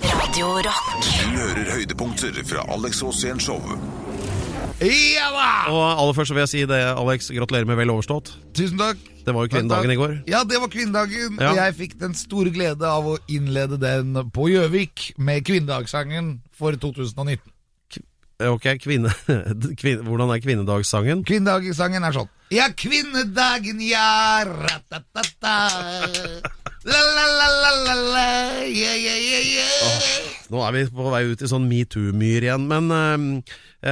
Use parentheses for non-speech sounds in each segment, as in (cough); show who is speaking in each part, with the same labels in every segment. Speaker 1: Radio Rock.
Speaker 2: Du hører høydepunkter fra Alex Rosén Show.
Speaker 3: Ja da!
Speaker 4: Og aller først så vil jeg si det, Alex, gratulerer med vel overstått.
Speaker 3: Tusen takk.
Speaker 4: Det var jo kvinnedagen i går.
Speaker 3: Ja, det var kvinnedagen.
Speaker 4: Ja.
Speaker 3: Og jeg fikk den store glede av å innlede den på Gjøvik med kvinnedagssangen for 2019.
Speaker 4: Eh, Ok, kvinne, (laughs) kvinne, Hvordan er kvinnedagssangen?
Speaker 3: Kvinnedagssangen er sånn. Ja, kvinnedagen, ja. Ratatata. La-la-la-la-la. Ja, ja, ja, ja.
Speaker 4: Nå er vi på vei ut i sånn metoo-myr igjen, men eh,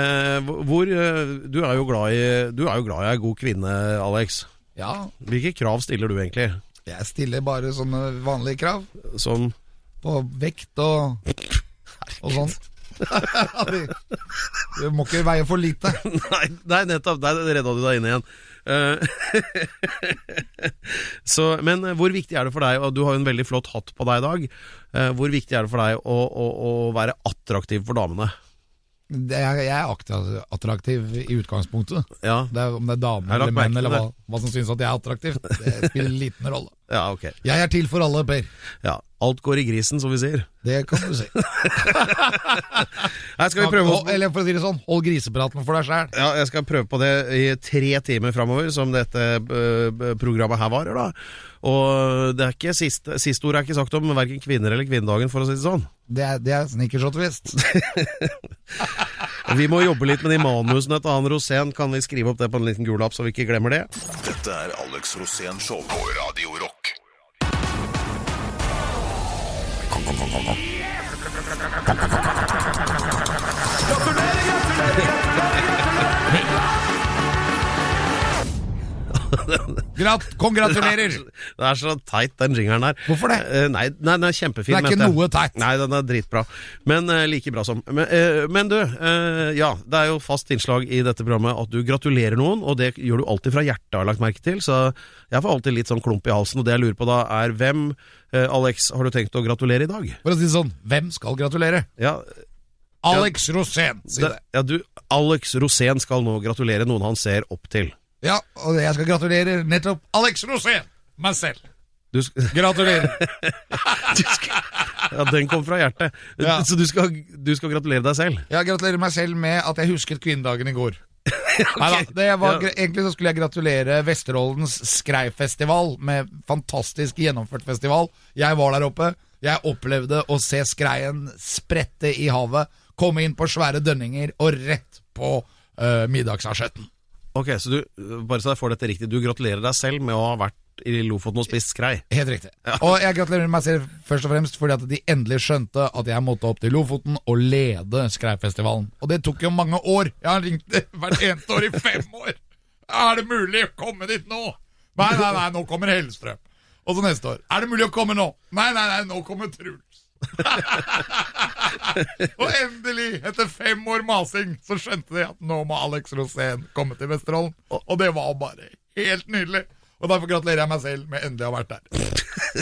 Speaker 4: eh, hvor eh, du, er jo glad i, du er jo glad i ei god kvinne, Alex.
Speaker 3: Ja,
Speaker 4: Hvilke krav stiller du egentlig?
Speaker 3: jeg stiller bare sånne vanlige krav
Speaker 4: Som
Speaker 3: på vekt og, og sånn. (laughs) Du må ikke veie for lite.
Speaker 4: (laughs) Nei, nei nettopp. Der redda du deg inn igjen. Eh, (laughs) så, men eh, hvor viktig er det for deg, og du har jo en veldig flott hatt på deg i dag, eh, hvor viktig er det for deg å, å, å være attraktiv for damene?
Speaker 3: Det er, jeg er aktiv- attraktiv i utgangspunktet.
Speaker 4: Ja,
Speaker 3: Det er, om det er damer
Speaker 4: Jeg har lagt
Speaker 3: eller menn,
Speaker 4: merke til
Speaker 3: eller hva, hva som syns at jeg er attraktiv, det spiller liten rolle.
Speaker 4: ja ok.
Speaker 3: Jeg er til for alle, Per.
Speaker 4: Ja, alt går i grisen, som vi sier.
Speaker 3: Det kan du si.
Speaker 4: Nei, (laughs) skal vi prøve å...
Speaker 3: Hold- Eller for å si det sånn, hold grisepraten for deg sjæl.
Speaker 4: Ja, jeg skal prøve på det i tre timer framover, som dette eh, programmet her varer, da. Og det er ikke siste, siste ord er ikke sagt om verken kvinner eller kvinnedagen, for å si det sånn.
Speaker 3: Det er, det er snickers og twist.
Speaker 4: Vi må jobbe litt med de manusene til han Rosén. Kan vi skrive opp det på en liten gul lapp, så vi ikke glemmer det?
Speaker 2: Dette er Alex Rosén Show på Radio Rock.
Speaker 3: Grat kongratulerer!
Speaker 4: (laughs) Det er så teit, den jingeren der.
Speaker 3: Hvorfor det?
Speaker 4: Eh, Nei, nei, den er kjempefin.
Speaker 3: Det er ikke
Speaker 4: mente jeg.
Speaker 3: noe teit.
Speaker 4: Nei, den er dritbra. Men eh, like bra som. Men, eh, men du, eh, ja. Det er jo fast innslag i dette programmet at du gratulerer noen, og det gjør du alltid fra hjertet, har jeg lagt merke til. Så jeg får alltid litt sånn klump i halsen, og det jeg lurer på da, er hvem, eh, Alex, har du tenkt å gratulere i dag?
Speaker 3: For å si det sånn, hvem skal gratulere?
Speaker 4: Ja,
Speaker 3: Alex Rosén, si
Speaker 4: det,
Speaker 3: det.
Speaker 4: ja du, Alex Rosén skal nå gratulere noen han ser opp til.
Speaker 3: Ja, og jeg skal gratulere nettopp Alex Rosén, meg selv.
Speaker 4: Du, sk- (laughs)
Speaker 3: Gratulerer.
Speaker 4: du skal, ja, den kom fra (laughs) hjertet.
Speaker 3: Ja.
Speaker 4: Så du skal, du skal gratulere deg selv?
Speaker 3: Jeg gratulerer meg selv med at jeg husket kvinnedagen i går. Neida, det var,
Speaker 4: Ja.
Speaker 3: Egentlig så skulle jeg gratulere Vesterålens Skreifestival med fantastisk gjennomført festival. Jeg var der oppe. Jeg opplevde å se skreien sprette i havet, komme inn på svære dønninger og rett på uh, middagsasjetten.
Speaker 4: Ok, så du, bare så jeg får dette riktig, du gratulerer deg selv med å ha vært i Lofoten og spist skrei.
Speaker 3: Helt riktig. Og jeg gratulerer meg selv først og fremst fordi at de endelig skjønte at jeg måtte opp til Lofoten og lede Skreifestivalen. Og det tok jo mange år. Jeg har ringt hvert eneste år i fem år. Er det mulig å komme dit nå? Nei, nei, nei, nå kommer Hellstrøm. Og så neste år. Er det mulig å komme nå? Nei, nei, nei, nå kommer Truls. (laughs) og endelig, etter fem år masing, så skjønte de at nå må Alex Rosén komme til Vesterålen. Og det var bare helt nydelig. Og derfor gratulerer jeg meg selv med endelig å ha vært der.
Speaker 4: (laughs)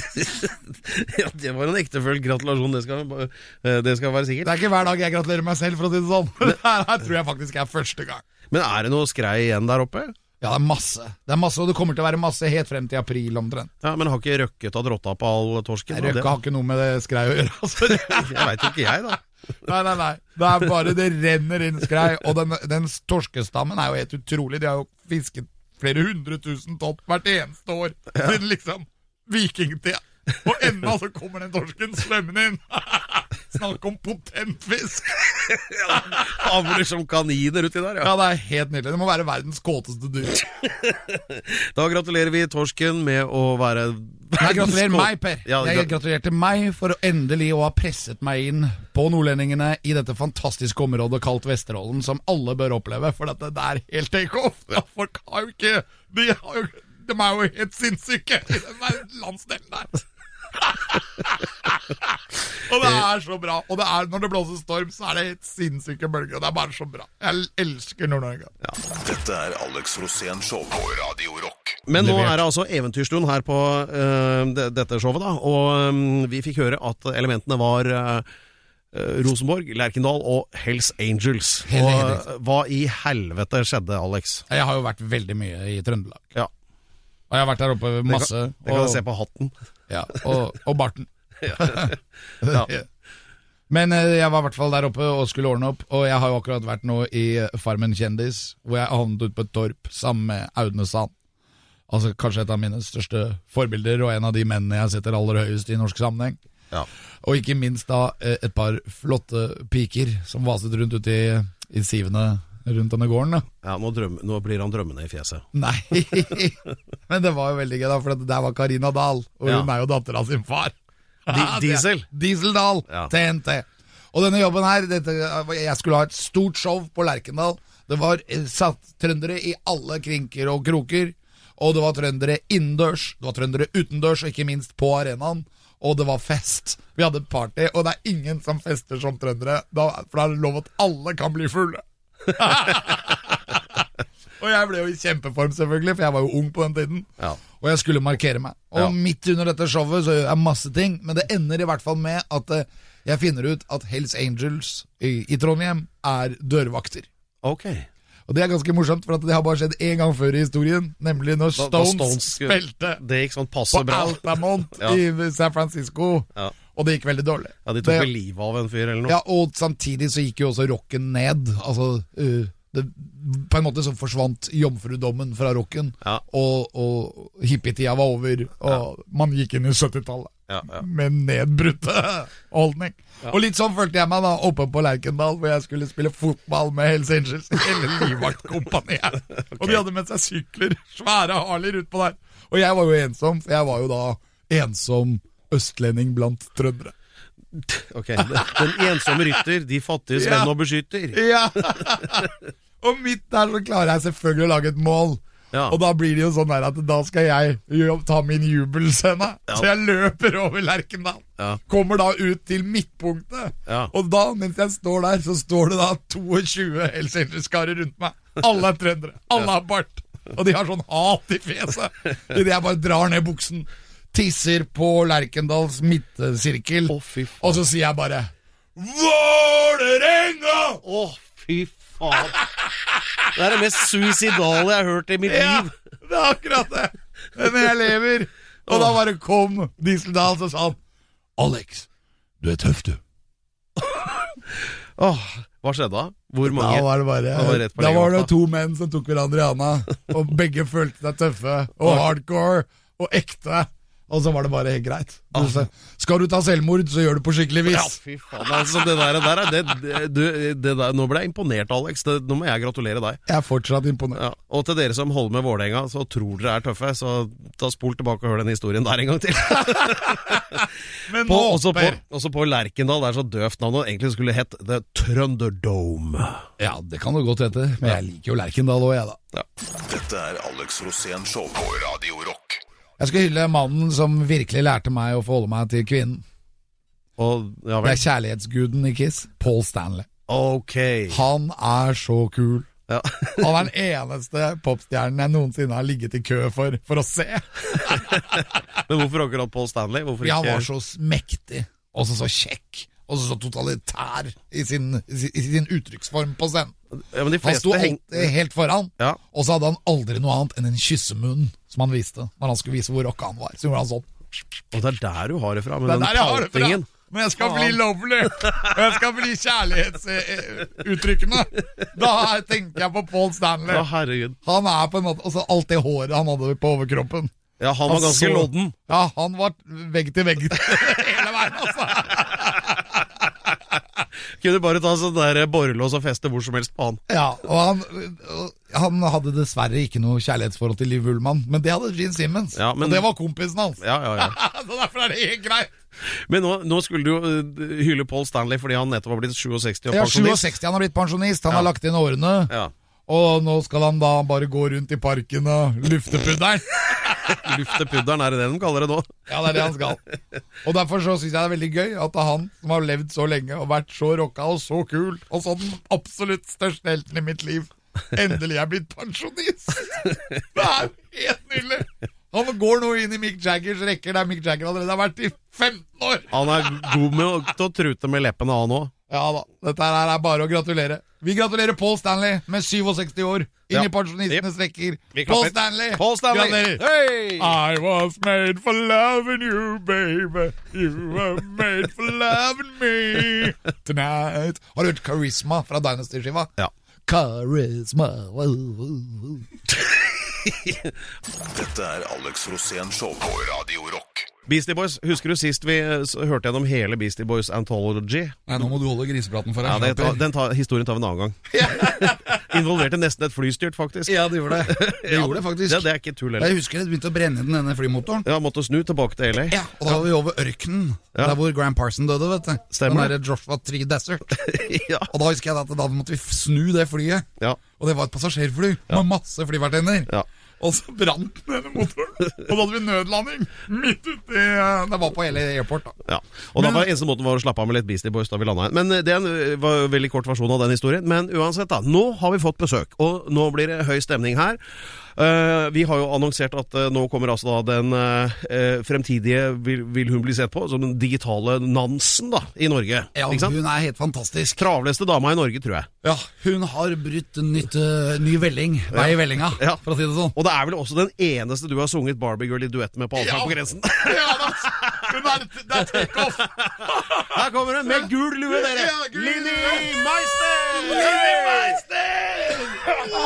Speaker 4: Ja, det var en ektefølt gratulasjon, det skal, eh, det skal være
Speaker 3: Det
Speaker 4: sikkert.
Speaker 3: er ikke hver dag jeg gratulerer meg selv, for å si det sånn. (laughs) Det her tror jeg faktisk er første gang.
Speaker 4: Men er det noe skrei igjen der oppe?
Speaker 3: Ja, det er masse. Det er masse, Og det kommer til å være masse helt frem til april omtrent.
Speaker 4: Ja, men har ikke Røkke tatt rotta på all torsken?
Speaker 3: Røkka har ikke noe med det skrei å gjøre. (laughs) Altså.
Speaker 4: Det, (laughs) jeg veit ikke jeg, da.
Speaker 3: Nei, nei, nei. Det er bare det renner inn skrei. Og den, den torskestammen er jo helt utrolig. De har jo fisket flere hundre tusen tonn hvert eneste år siden liksom vikingtida. Og ennå så kommer den torsken svømmende inn. (laughs) Snakk om potent fisk!
Speaker 4: Avler som kaniner uti der, ja.
Speaker 3: Ja, det er helt nydelig. Det må være verdens kåteste dyr.
Speaker 4: Da gratulerer vi torsken med å være
Speaker 3: Nei, gratulerer
Speaker 4: verdens-
Speaker 3: meg, Per.
Speaker 4: Ja,
Speaker 3: jeg
Speaker 4: gra-
Speaker 3: gratulerte meg for å endelig å ha presset meg inn på nordlendingene i dette fantastiske området kalt Vesterålen, som alle bør oppleve, for dette det er helt take-off. Ja, (laughs) folk har jo ikke De, har jo, de er jo helt sinnssyke i den der landsdelen der. (laughs) og det
Speaker 4: Eh.
Speaker 3: er så bra. Og det er, når det blåser storm, så er det helt sinnssyke bølger. Og det er bare så bra. Jeg elsker Nord-Norge.
Speaker 2: Dette er Alex Rosén Show på Radio Rock.
Speaker 4: Men nå
Speaker 3: Levert.
Speaker 4: er det altså eventyrstund her på øh, de- dette showet, da. Og øh, vi fikk høre at elementene var øh, øh, Rosenborg, Lerkendal og Hells Angels.
Speaker 3: Helt
Speaker 4: og
Speaker 3: riktig.
Speaker 4: øh, hva i helvete skjedde, Alex?
Speaker 3: Jeg har jo vært veldig mye i Trøndelag.
Speaker 4: Ja,
Speaker 3: Og jeg har vært der oppe
Speaker 4: det
Speaker 3: masse.
Speaker 4: kan, det kan jeg se på hatten.
Speaker 3: (laughs) Ja, og, og barten.
Speaker 4: Ja.
Speaker 3: Men eh, jeg var i hvert fall der oppe og skulle ordne opp, og jeg har jo akkurat vært nå i eh, Farmen kjendis, hvor jeg havnet ute på et torp sammen med Audne Sand. Altså kanskje et av mine største forbilder, og en av de mennene jeg setter aller høyest i norsk sammenheng.
Speaker 4: Ja.
Speaker 3: Og ikke minst da eh, et par flotte piker som vaset rundt ute i, i sivene rundt denne gården. da. (laughs)
Speaker 4: Ja, nå, drøm, nå blir han drømmende i fjeset.
Speaker 3: Nei, men det var jo veldig gøy, da, for at der var Karina Dahl, og
Speaker 4: Ja.
Speaker 3: hun er jo datter av sin far.
Speaker 4: Di
Speaker 3: det er-
Speaker 4: Diesel?
Speaker 3: Diesel Dahl,
Speaker 4: Ja.
Speaker 3: TNT. Og denne jobben her, dette, jeg skulle ha et stort show på Lerkendal. Det var eh, satt trøndere i alle krinker og kroker. Og det var trøndere innendørs, det var trøndere utendørs, og ikke minst på arenaen. Og det var fest. Vi hadde party, og det er ingen som fester som trøndere. Da, for da er det lov at alle kan bli fulle. (laughs) og jeg ble jo i kjempeform, selvfølgelig, for jeg var jo ung på den tiden.
Speaker 4: Ja.
Speaker 3: Og jeg skulle markere meg. Og
Speaker 4: Ja.
Speaker 3: midt under dette showet så gjør jeg masse ting, men det ender i hvert fall med at eh, jeg finner ut at Hells Angels i, i Trondheim er dørvakter.
Speaker 4: Ok.
Speaker 3: Og det er ganske morsomt, for at det har bare skjedd én gang før i historien, nemlig når
Speaker 4: Da-
Speaker 3: Stones,
Speaker 4: da Stones skulle-
Speaker 3: spilte
Speaker 4: Det gikk sånn passe
Speaker 3: på
Speaker 4: bra.
Speaker 3: Altamont
Speaker 4: (laughs) Ja.
Speaker 3: i San Francisco,
Speaker 4: Ja.
Speaker 3: og det gikk veldig dårlig.
Speaker 4: Ja, De tok
Speaker 3: Det-
Speaker 4: vel livet av en fyr eller noe?
Speaker 3: ja, og samtidig så gikk jo også rocken ned. Altså, eh, det, på en måte så forsvant jomfrudommen fra rocken,
Speaker 4: Ja.
Speaker 3: og, og hippietida var over, og man gikk inn i 70-tallet
Speaker 4: Ja, ja.
Speaker 3: med nedbrutte holdning. Og litt sånn følte jeg meg da oppe på Lerkendal, hvor jeg skulle spille fotball med Hells
Speaker 4: (laughs)
Speaker 3: Angels, hele livvaktkompaniet. Og de hadde med seg sykler, svære Harlier utpå der. Og jeg var jo ensom, for jeg var jo da ensom østlending blant trøndere.
Speaker 4: Ok, Den ensomme rytter, de fattiges
Speaker 3: Ja.
Speaker 4: venn og beskytter.
Speaker 3: Ja! (laughs) og midt der så klarer jeg selvfølgelig å lage et mål.
Speaker 4: Ja.
Speaker 3: Og da blir det jo sånn der at da skal jeg jo ta min jubelscene.
Speaker 4: Ja.
Speaker 3: Så jeg løper over Lerkendal.
Speaker 4: Ja.
Speaker 3: Kommer da ut til midtpunktet.
Speaker 4: Ja.
Speaker 3: Og da, mens jeg står der, så står det da 22 Hells Angels-karer rundt meg. Alle er trøndere. Alle har bart. Og de har sånn hat i fjeset idet jeg bare drar ned buksen. Tisser på Lerkendals midtsirkel.
Speaker 4: Å, fy faen.
Speaker 3: og så sier jeg bare Vålerenga!
Speaker 4: Å, fy faen! Det er det mest suicidale jeg har hørt i mitt
Speaker 3: Ja,
Speaker 4: liv.
Speaker 3: det er akkurat det. Men jeg lever. Og da bare kom Dieseldal og sa han Alex, du er tøff, du.
Speaker 4: Åh, hva skjedde da? Hvor
Speaker 3: Da
Speaker 4: mange?
Speaker 3: var det bare
Speaker 4: Da var det rett på
Speaker 3: Da var det
Speaker 4: legevakta.
Speaker 3: to menn som tok hverandre i handa, og begge følte seg tøffe og hardcore og ekte. Og så var det bare helt greit. Du sa, skal du ta selvmord, så gjør du på skikkelig
Speaker 4: Ja,
Speaker 3: vis.
Speaker 4: fy faen. Altså, det der, der er det, det, du- det der, Nå ble jeg imponert, Alex. Det, nå må jeg gratulere deg.
Speaker 3: Jeg er fortsatt imponert.
Speaker 4: Ja. Og til dere som holder med Vålerenga, så tror dere er tøffe, så ta spol tilbake og hør den historien der en gang til.
Speaker 3: Men
Speaker 4: På, også, på,
Speaker 3: håper-
Speaker 4: også på Lerkendal, det er så døvt navn, og egentlig skulle det hett The Trønderdome.
Speaker 3: Ja, det kan det godt hete. Men jeg liker jo Lerkendal òg, jeg, da.
Speaker 2: Dette er Alex Rosén Show på Radio Rock.
Speaker 3: Jeg skal hylle mannen som virkelig lærte meg å forholde meg til kvinnen.
Speaker 4: Og ja
Speaker 3: Det
Speaker 4: vel.
Speaker 3: er kjærlighetsguden i Kiss, Paul Stanley.
Speaker 4: Ok.
Speaker 3: Han er så kul.
Speaker 4: Ja. (laughs)
Speaker 3: Han er den eneste popstjernen jeg noensinne har ligget i kø for, for å se.
Speaker 4: Men hvorfor akkurat Paul Stanley? Hvorfor
Speaker 3: Fordi
Speaker 4: ikke
Speaker 3: han var så mektig, og så så kjekk, og så så totalitær i sin, i sin- i sin uttrykksform på scenen.
Speaker 4: ja, men de
Speaker 3: Han sto
Speaker 4: fleste heng...
Speaker 3: alltid helt foran,
Speaker 4: Ja.
Speaker 3: og så hadde han aldri noe annet enn en kyssemunn som han viste når han skulle vise hvor rocka han var. Så gjorde han sånn.
Speaker 4: Og det er der du har det fra, med
Speaker 3: Det er
Speaker 4: den
Speaker 3: der jeg har det fra.
Speaker 4: paltingen.
Speaker 3: Men jeg skal bli lovely, og jeg skal bli kjærlighetsuttrykkende. Da tenker jeg på Paul Stanley.
Speaker 4: Å, herregud.
Speaker 3: Han er på en måte også Alt det håret han hadde på overkroppen.
Speaker 4: Ja, han var
Speaker 3: Han
Speaker 4: ganske
Speaker 3: så-
Speaker 4: lodden.
Speaker 3: Ja, han var vegg til vegg (laughs) hele veien, altså.
Speaker 4: Kunne bare ta sånn der borrelås og feste hvor som helst på han.
Speaker 3: Ja, og han, og han hadde dessverre ikke noe kjærlighetsforhold til Liv Ullmann, men det hadde Gene Simmons.
Speaker 4: Ja, men-
Speaker 3: Og det var kompisen hans.
Speaker 4: Ja, ja, ja.
Speaker 3: (laughs) Så derfor er det helt greit.
Speaker 4: Men nå, nå skulle du jo eh, hylle Paul Stanley fordi han nettopp har blitt 67 og
Speaker 3: Ja,
Speaker 4: pensjonist.
Speaker 3: 67, han har blitt pensjonist, han
Speaker 4: Ja.
Speaker 3: har lagt inn årene,
Speaker 4: Ja,
Speaker 3: og nå skal han da bare gå rundt i parken og lufte pudderen.
Speaker 4: Lufte pudderen, er det det de kaller det nå?
Speaker 3: Ja, det er det han skal. Og derfor så syns jeg det er veldig gøy at han som har levd så lenge og vært så rocka og så kul, og så den absolutt største helten i mitt liv, endelig er blitt pensjonist! Det er helt nydelig! Han går nå inn i Mick Jaggers rekker der Mick Jagger allerede har vært i 15 år!
Speaker 4: Han er god med å, til å trute med leppene, han òg.
Speaker 3: Ja da, dette her er bare å gratulere. Vi gratulerer Paul Stanley med 67 år inn
Speaker 4: Ja.
Speaker 3: i pensjonistenes rekker.
Speaker 4: Vi klapper.
Speaker 3: Paul Stanley!
Speaker 4: Paul Stanley!
Speaker 3: Gratulerer.
Speaker 4: Hei!
Speaker 3: I was made for loving you, baby. You were made for loving me. Tonight. Har du hørt Charisma fra Dynasty-skiva?
Speaker 4: Ja.
Speaker 3: Charisma wow, wow, wow.
Speaker 2: Dette er Alex Rosén Show på Radio Rock.
Speaker 4: Beastie Boys, husker du sist vi eh, s- hørte gjennom hele Beastie Boys Anthology?
Speaker 1: Nei, nå må du holde grisepraten for
Speaker 4: Ja,
Speaker 1: deg.
Speaker 4: det, ta- den tar, Historien tar vi en (laughs) annen gang. Involverte nesten et flystyrt, faktisk.
Speaker 1: Ja, det gjorde
Speaker 4: (laughs)
Speaker 1: det. Det gjorde det faktisk.
Speaker 4: Ja, det er ikke tull heller.
Speaker 1: Jeg husker det begynte å brenne i den ene flymotoren.
Speaker 4: Ja, måtte snu tilbake til LA.
Speaker 1: Ja, og da var vi over ørkenen,
Speaker 4: Ja.
Speaker 1: der hvor Graham Parson døde, vet du.
Speaker 4: Stemmer.
Speaker 1: Den der Joshua Tree Desert.
Speaker 4: (laughs) ja.
Speaker 1: Og da husker jeg at da måtte vi snu det flyet.
Speaker 4: ja.
Speaker 1: Og det var et passasjerfly med masse flyvertinner.
Speaker 4: Ja.
Speaker 1: Og så brant den ene motoren, og da hadde vi nødlanding midt uti eh, Det var på hele airport, da.
Speaker 4: Ja. Og da var eneste måten var å slappe av med litt Beastie Boys da vi landa her. Men eh, det er en, eh, var en veldig kort versjon av den historien. Men uansett, da. Nå har vi fått besøk, og nå blir det høy stemning her. Eh, vi har jo annonsert at eh, nå kommer altså da den eh, eh, fremtidige vil, vil hun bli sett på som den digitale Nansen, da, i Norge.
Speaker 1: Ja,
Speaker 4: Ikke sant?
Speaker 1: hun er helt fantastisk.
Speaker 4: Travleste dama i Norge, tror jeg.
Speaker 1: Ja, Hun har brutt nytt, eh, ny velling. Vei i vellinga,
Speaker 4: Ja.
Speaker 1: for å si det sånn.
Speaker 4: Og det er vel også den eneste du har sunget Barbie Girl i duett med på Allsang på grensen.
Speaker 3: (laughs) Ja, hun er, det er takeoff!
Speaker 4: Her kommer hun med gul lue, dere!
Speaker 3: Ja, gul lue.
Speaker 4: Lilly Meister!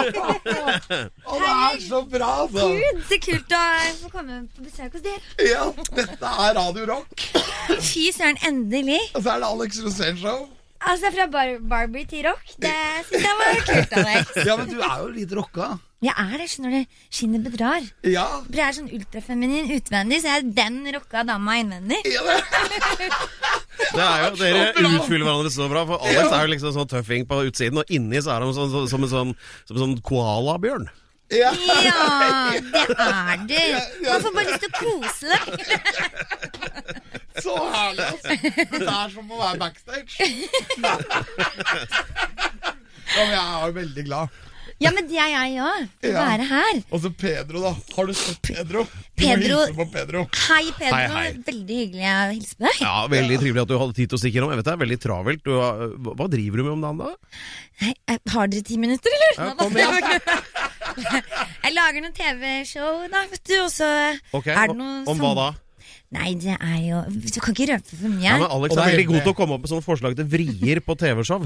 Speaker 3: Å, det er så bra, da!
Speaker 1: altså.
Speaker 5: Gud, så kult å få komme på besøk hos dere.
Speaker 3: Ja, dette er Radio Rock.
Speaker 5: Fy søren, endelig.
Speaker 3: Og så er det Alex Rosén Show.
Speaker 5: Altså, fra bar Barbie til rock. Det synes jeg var kult av deg.
Speaker 1: Ja, men du er jo litt rocka.
Speaker 5: Jeg er det, skjønner du. Skinnet bedrar.
Speaker 3: Ja.
Speaker 5: For jeg er sånn ultrafeminin utvendig, så jeg er den rocka dama innvendig.
Speaker 3: ja det.
Speaker 4: Det er jo, Dere utfyller hverandre så bra, for Alex er jo liksom sånn tøffing på utsiden, og inni så er han sånn, så, som en sånn, som en sånn koalabjørn.
Speaker 3: Ja.
Speaker 5: Ja, det er du. Man får bare lyst til å kose deg.
Speaker 3: Så herlig, altså. Dette er som å være backstage. Ja, men jeg er jo veldig glad.
Speaker 5: Ja, men det er jeg òg. Å
Speaker 3: Ja.
Speaker 5: være her.
Speaker 3: Og så Pedro, da. Har du sett Pedro? Du må
Speaker 5: Pedro-
Speaker 3: hilse på Pedro.
Speaker 5: Hei, Pedro.
Speaker 4: Hei, hei.
Speaker 5: Veldig hyggelig å hilse på deg.
Speaker 4: Ja, Veldig trivelig at du hadde tid til å stikke innom. Jeg vet det er veldig travelt. Du, har- hva- hva driver du med om dagen, da?
Speaker 5: Hei, eh, Har dere ti minutter, eller?
Speaker 4: Ja, kom igjen.
Speaker 5: (laughs) Jeg lager noen TV-show, da, vet du. Og så
Speaker 4: Ok,
Speaker 5: er det noe
Speaker 4: Om hva da?
Speaker 5: Nei, det er jo Du kan ikke røpe for mye.
Speaker 4: Ja, men Alex
Speaker 3: Og det
Speaker 4: er
Speaker 3: er
Speaker 4: veldig god
Speaker 3: hyggelig.
Speaker 4: til å komme opp med sånne forslag til vrier på TV-show.